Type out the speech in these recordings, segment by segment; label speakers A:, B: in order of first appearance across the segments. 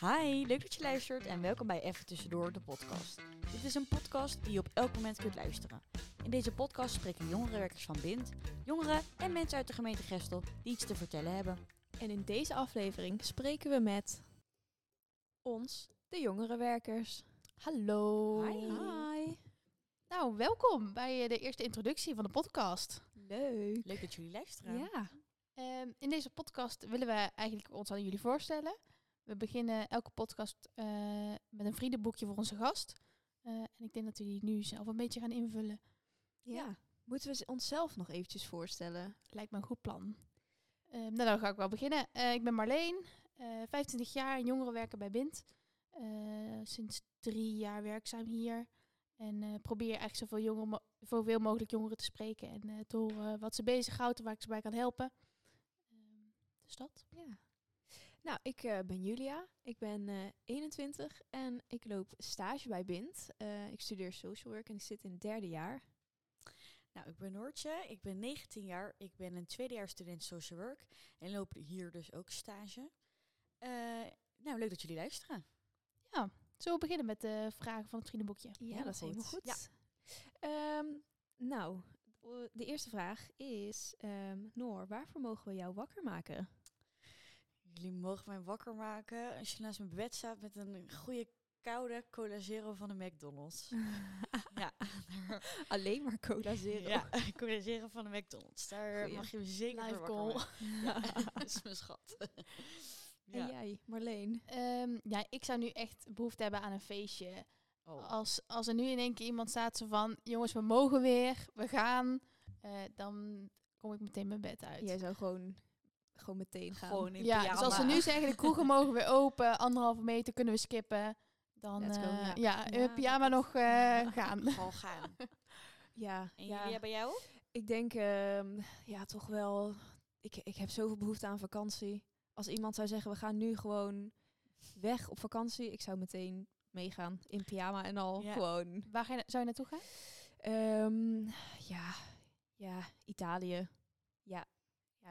A: Hi, leuk dat je luistert en welkom bij Even Tussendoor, de podcast. Dit is een podcast die je op elk moment kunt luisteren. In deze podcast spreken jongerenwerkers van Bind, jongeren en mensen uit de gemeente Gestel die iets te vertellen hebben.
B: En in deze aflevering spreken we met ons, de jongerenwerkers. Hallo.
A: Hi.
B: Hi.
C: Nou, welkom bij eh, de eerste introductie van de podcast.
B: Leuk.
A: Leuk dat jullie luisteren.
B: Ja.
C: Ehm, in deze podcast willen we eigenlijk ons aan jullie voorstellen. We beginnen elke podcast eh, met een vriendenboekje voor onze gast. Eh, en ik denk dat jullie nu zelf een beetje gaan invullen.
B: Ja. Moeten we z- onszelf nog eventjes voorstellen?
C: Lijkt me een goed plan. Ehm, nou, dan ga ik wel beginnen. Eh, ik ben Marleen, eh 25 jaar en jongerenwerker bij Bind. Eh, sinds drie jaar werkzaam hier. En eh, probeer eigenlijk zoveel, jongeren, mo- zoveel mogelijk jongeren te spreken. En eh, te horen wat ze bezighoudt en waar ik ze bij kan helpen. Ehm, dus dat.
B: Ja. Nou, ik eh, ben Julia. Ik ben eh, 21 en ik loop stage bij Bind. Eh, ik studeer social work en ik zit in het derde jaar.
A: Nou, ik ben Noortje, ik ben 19 jaar, ik ben een tweedejaars student social work en loop hier dus ook stage. Eh, nou, leuk dat jullie luisteren.
C: Zullen we beginnen met de vragen van het vriendenboekje?
B: Ja,
A: Helemaal
B: dat is helemaal
A: goed.
B: goed. Ehm, nou, o- de eerste vraag is, ehm, Noor, waarvoor mogen we jou wakker maken?
A: Jullie mogen mij wakker maken als je naast mijn bed staat met een goede koude cola zero van de McDonald's. ja,
B: Alleen maar cola zero.
A: Ja, corrigeren van de McDonald's. Daar
B: Goeie.
A: mag je me zeker
C: Live
A: voor wakker
C: goal.
A: maken. Ja, dat is mijn schat. ja.
B: En jij, Marleen?
C: Ehm, ja, ik zou nu echt behoefte hebben aan een feestje.
A: Oh.
C: Als, als er nu in één keer iemand staat zo van... Jongens, we mogen weer, we gaan. eh, dan kom ik meteen mijn bed uit.
B: Jij zou gewoon, gewoon meteen gaan.
A: Gewoon in
C: ja,
A: pyjama.
C: dus als ze nu zeggen de kroegen mogen weer open, anderhalve meter kunnen we skippen. Dan
B: Let's go, ja.
C: eh, ja, eh,
B: Ja, dat
C: pyjama
B: is-
C: nog eh, gaan.
A: Gewoon gaan.
B: Ja,
A: En
B: ja.
A: jullie bij jou?
B: ik denk ehm, ja, toch wel... Ik, ik heb zoveel behoefte aan vakantie. Als iemand zou zeggen, we gaan nu gewoon weg op vakantie. Ik zou meteen meegaan, in pyjama en al.
A: Ja.
B: Gewoon.
C: Waar ga je, zou je naartoe gaan?
B: Ehm, ja, ja, Italië. Ja. ja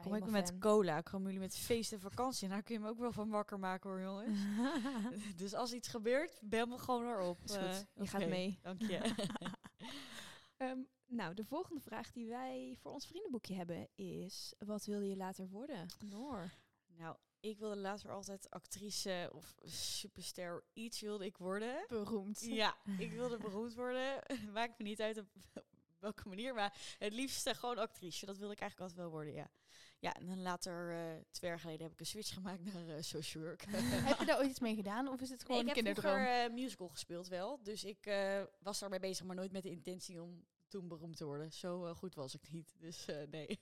A: Kom ik
B: helemaal
A: met
B: fan.
A: cola, komen jullie met feest en vakantie. En daar kun je me ook wel van wakker maken hoor jongens. dus als iets gebeurt, bel me gewoon erop.
B: Is goed,
A: Eh,
B: je
A: oké,
B: gaat mee.
A: Dank je.
B: Ehm, nou, de volgende vraag die wij voor ons vriendenboekje hebben is... Wat wilde je later worden? Noor.
A: nou, ik wilde later altijd actrice of superster iets wilde ik worden.
C: Beroemd.
A: Ja, ik wilde beroemd worden. Maakt me niet uit op welke manier, maar het liefst eh, gewoon actrice. Dat wilde ik eigenlijk altijd wel worden, ja. Ja, en dan later, eh, twee jaar geleden, heb ik een switch gemaakt naar eh, social work.
C: heb je daar ooit iets mee gedaan? Of is het
A: Nee,
C: gewoon
A: ik
C: een
A: heb
C: kinderdroom?
A: vroeger eh, musical gespeeld wel, dus ik eh, was daarmee bezig, maar nooit met de intentie om toen beroemd te worden. Zo eh, goed was ik niet, dus eh, nee.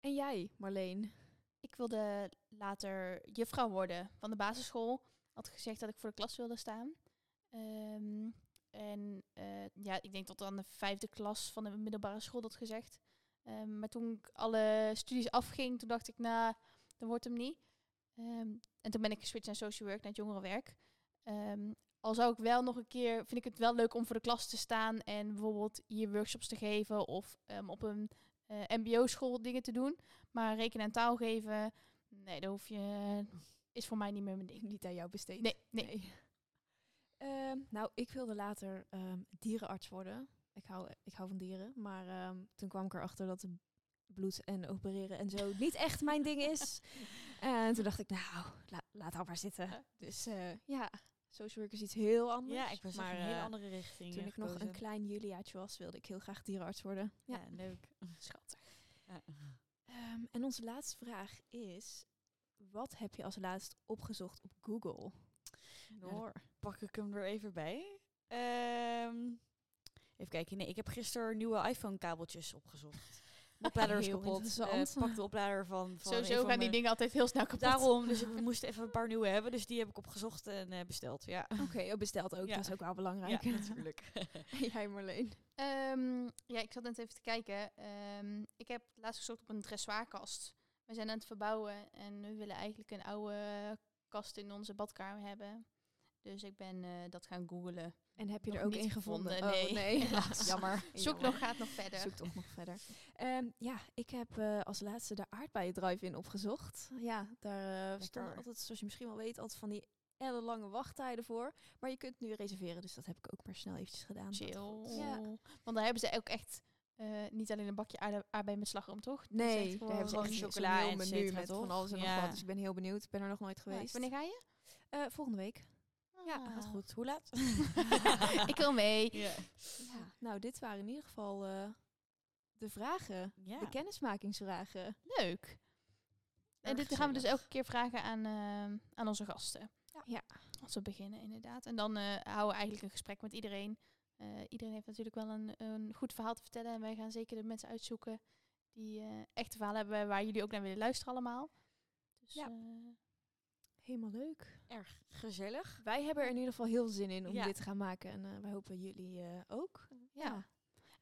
B: En jij, Marleen?
C: Ik wilde later juffrouw worden van de basisschool. Had gezegd dat ik voor de klas wilde staan. Ehm, en eh, ja, ik denk tot aan de vijfde klas van de middelbare school dat gezegd. Ehm, maar toen ik alle studies afging, toen dacht ik, nou, dat wordt hem niet. Ehm, en toen ben ik geswitcht naar social work, naar het jongerenwerk. Ehm, al zou ik wel nog een keer, vind ik het wel leuk om voor de klas te staan en bijvoorbeeld hier workshops te geven of ehm, op een eh, MBO-school dingen te doen. Maar rekenen en taal geven, nee, dat hoef je, is voor mij niet meer mijn ding.
B: Niet aan jou besteed.
C: Nee, nee.
B: Ehm, nou, ik wilde later ehm, dierenarts worden. Ik hou, ik hou van dieren. Maar ehm, toen kwam ik erachter dat bloed en opereren en zo niet echt mijn ding is. En toen dacht ik, nou, la- laat dat maar zitten. Dus eh, ja, social work is iets heel anders.
A: Ja, ik was maar,
B: maar
A: in een hele
B: eh,
A: andere richting
B: Toen
A: eh,
B: ik nog een
A: gekozen.
B: klein Juliaatje was, wilde ik heel graag dierenarts worden. Ja,
A: Ja, leuk.
B: schattig.
A: Ja.
B: Ehm, en onze laatste vraag is, wat heb je als laatst opgezocht op Google? Noor.
A: pak ik hem er even bij. Ehm, even kijken. Nee, ik heb gisteren nieuwe iPhone-kabeltjes opgezocht. De oplader is
B: Heel
A: kapot. Eh,
B: interessant.
A: pak de oplader van. van een
C: Sowieso
A: van
C: gaan die
A: mijn-
C: dingen altijd heel snel kapot.
A: Daarom, dus we moesten even een paar nieuwe hebben. Dus die heb ik opgezocht en eh, besteld. Ja,
B: Oké, ook besteld ook.
A: Ja.
B: Dat is ook wel
A: ja
B: belangrijk.
A: natuurlijk.
B: Jij Marleen.
C: Ehm, ja, ik zat net even te kijken. Ehm, ik heb laatst gezocht op een dressoirkast. We zijn aan het verbouwen en we willen eigenlijk een oude kast in onze badkamer hebben. Dus ik ben eh, dat gaan googlen.
B: En heb je
C: Nog
B: er ook
C: niet
B: één gevonden?
C: gevonden,
B: Oh,
C: nee.
B: nee.
C: Helaas.
B: Jammer.
C: Zoek nog, gaat nog verder.
B: Zoek toch nog verder. Ehm, ja, ik heb eh, als laatste de aardbeien drive-in opgezocht. Ja, daar eh, stonden
A: Lekker.
B: altijd, zoals je misschien wel weet, altijd van die ellenlange wachttijden voor. Maar je kunt nu reserveren, dus dat heb ik ook maar snel eventjes gedaan.
C: Chill.
B: Ja.
C: Want daar hebben ze ook echt eh, niet alleen een bakje aarde- aardbei met slagroom, toch? Die is
B: Nee,
C: echt
B: daar
C: gewoon-
B: hebben ze
C: gewoon
B: echt zo'n
C: chocola
B: heel
C: en et
B: menu
C: cetera,
B: met van
C: toch?
B: alles en
C: Ja.
B: nog wat. Dus ik ben heel benieuwd. Ik ben er nog nooit
C: Nice.
B: geweest.
C: Wanneer ga je?
B: Eh, volgende week. Ja,
C: Ah.
A: Gaat goed. Hoe laat?
C: ik wil mee.
B: Ja. Nou, dit waren in ieder geval eh, de vragen.
A: Ja.
B: De kennismakingsvragen.
C: Leuk. En
A: Erg
C: dit gaan we dus
A: gezellig.
C: elke keer vragen aan, eh, aan onze gasten.
B: Ja. Ja.
C: Als we beginnen, inderdaad. En dan eh, houden we eigenlijk een gesprek met iedereen. Eh, iedereen heeft natuurlijk wel een, een goed verhaal te vertellen. En wij gaan zeker de mensen uitzoeken die eh echte verhalen hebben waar jullie ook naar willen luisteren allemaal. Dus
B: Ja.
C: ja.
B: Helemaal leuk.
A: Erg gezellig.
B: Wij hebben er in ieder geval heel zin in om
A: Ja.
B: dit te gaan maken. En eh, wij hopen jullie eh, ook.
C: ja.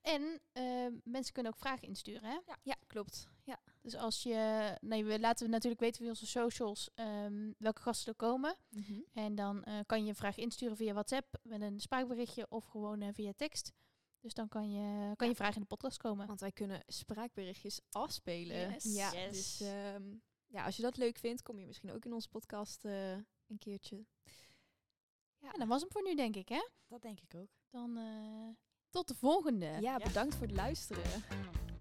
C: En eh, mensen kunnen ook vragen insturen, hè?
B: Ja, klopt. Ja.
C: Dus als je... Nee, we laten we natuurlijk weten via onze socials ehm, welke gasten er komen.
B: Mhm.
C: En dan eh, kan je een vraag insturen via WhatsApp met een spraakberichtje of gewoon eh, via tekst. Dus dan kan je, kan je vraag in de podcast komen.
B: Want wij kunnen spraakberichtjes afspelen.
C: Yes.
B: Ja,
A: Yes.
B: dus ehm, ja, als je dat leuk vindt, kom je misschien ook in onze podcast eh, een keertje.
C: Ja, dat was hem voor nu, denk ik, hè?
A: Dat denk ik ook.
C: Dan eh, tot de volgende.
B: Ja, bedankt voor het luisteren.
A: Ja.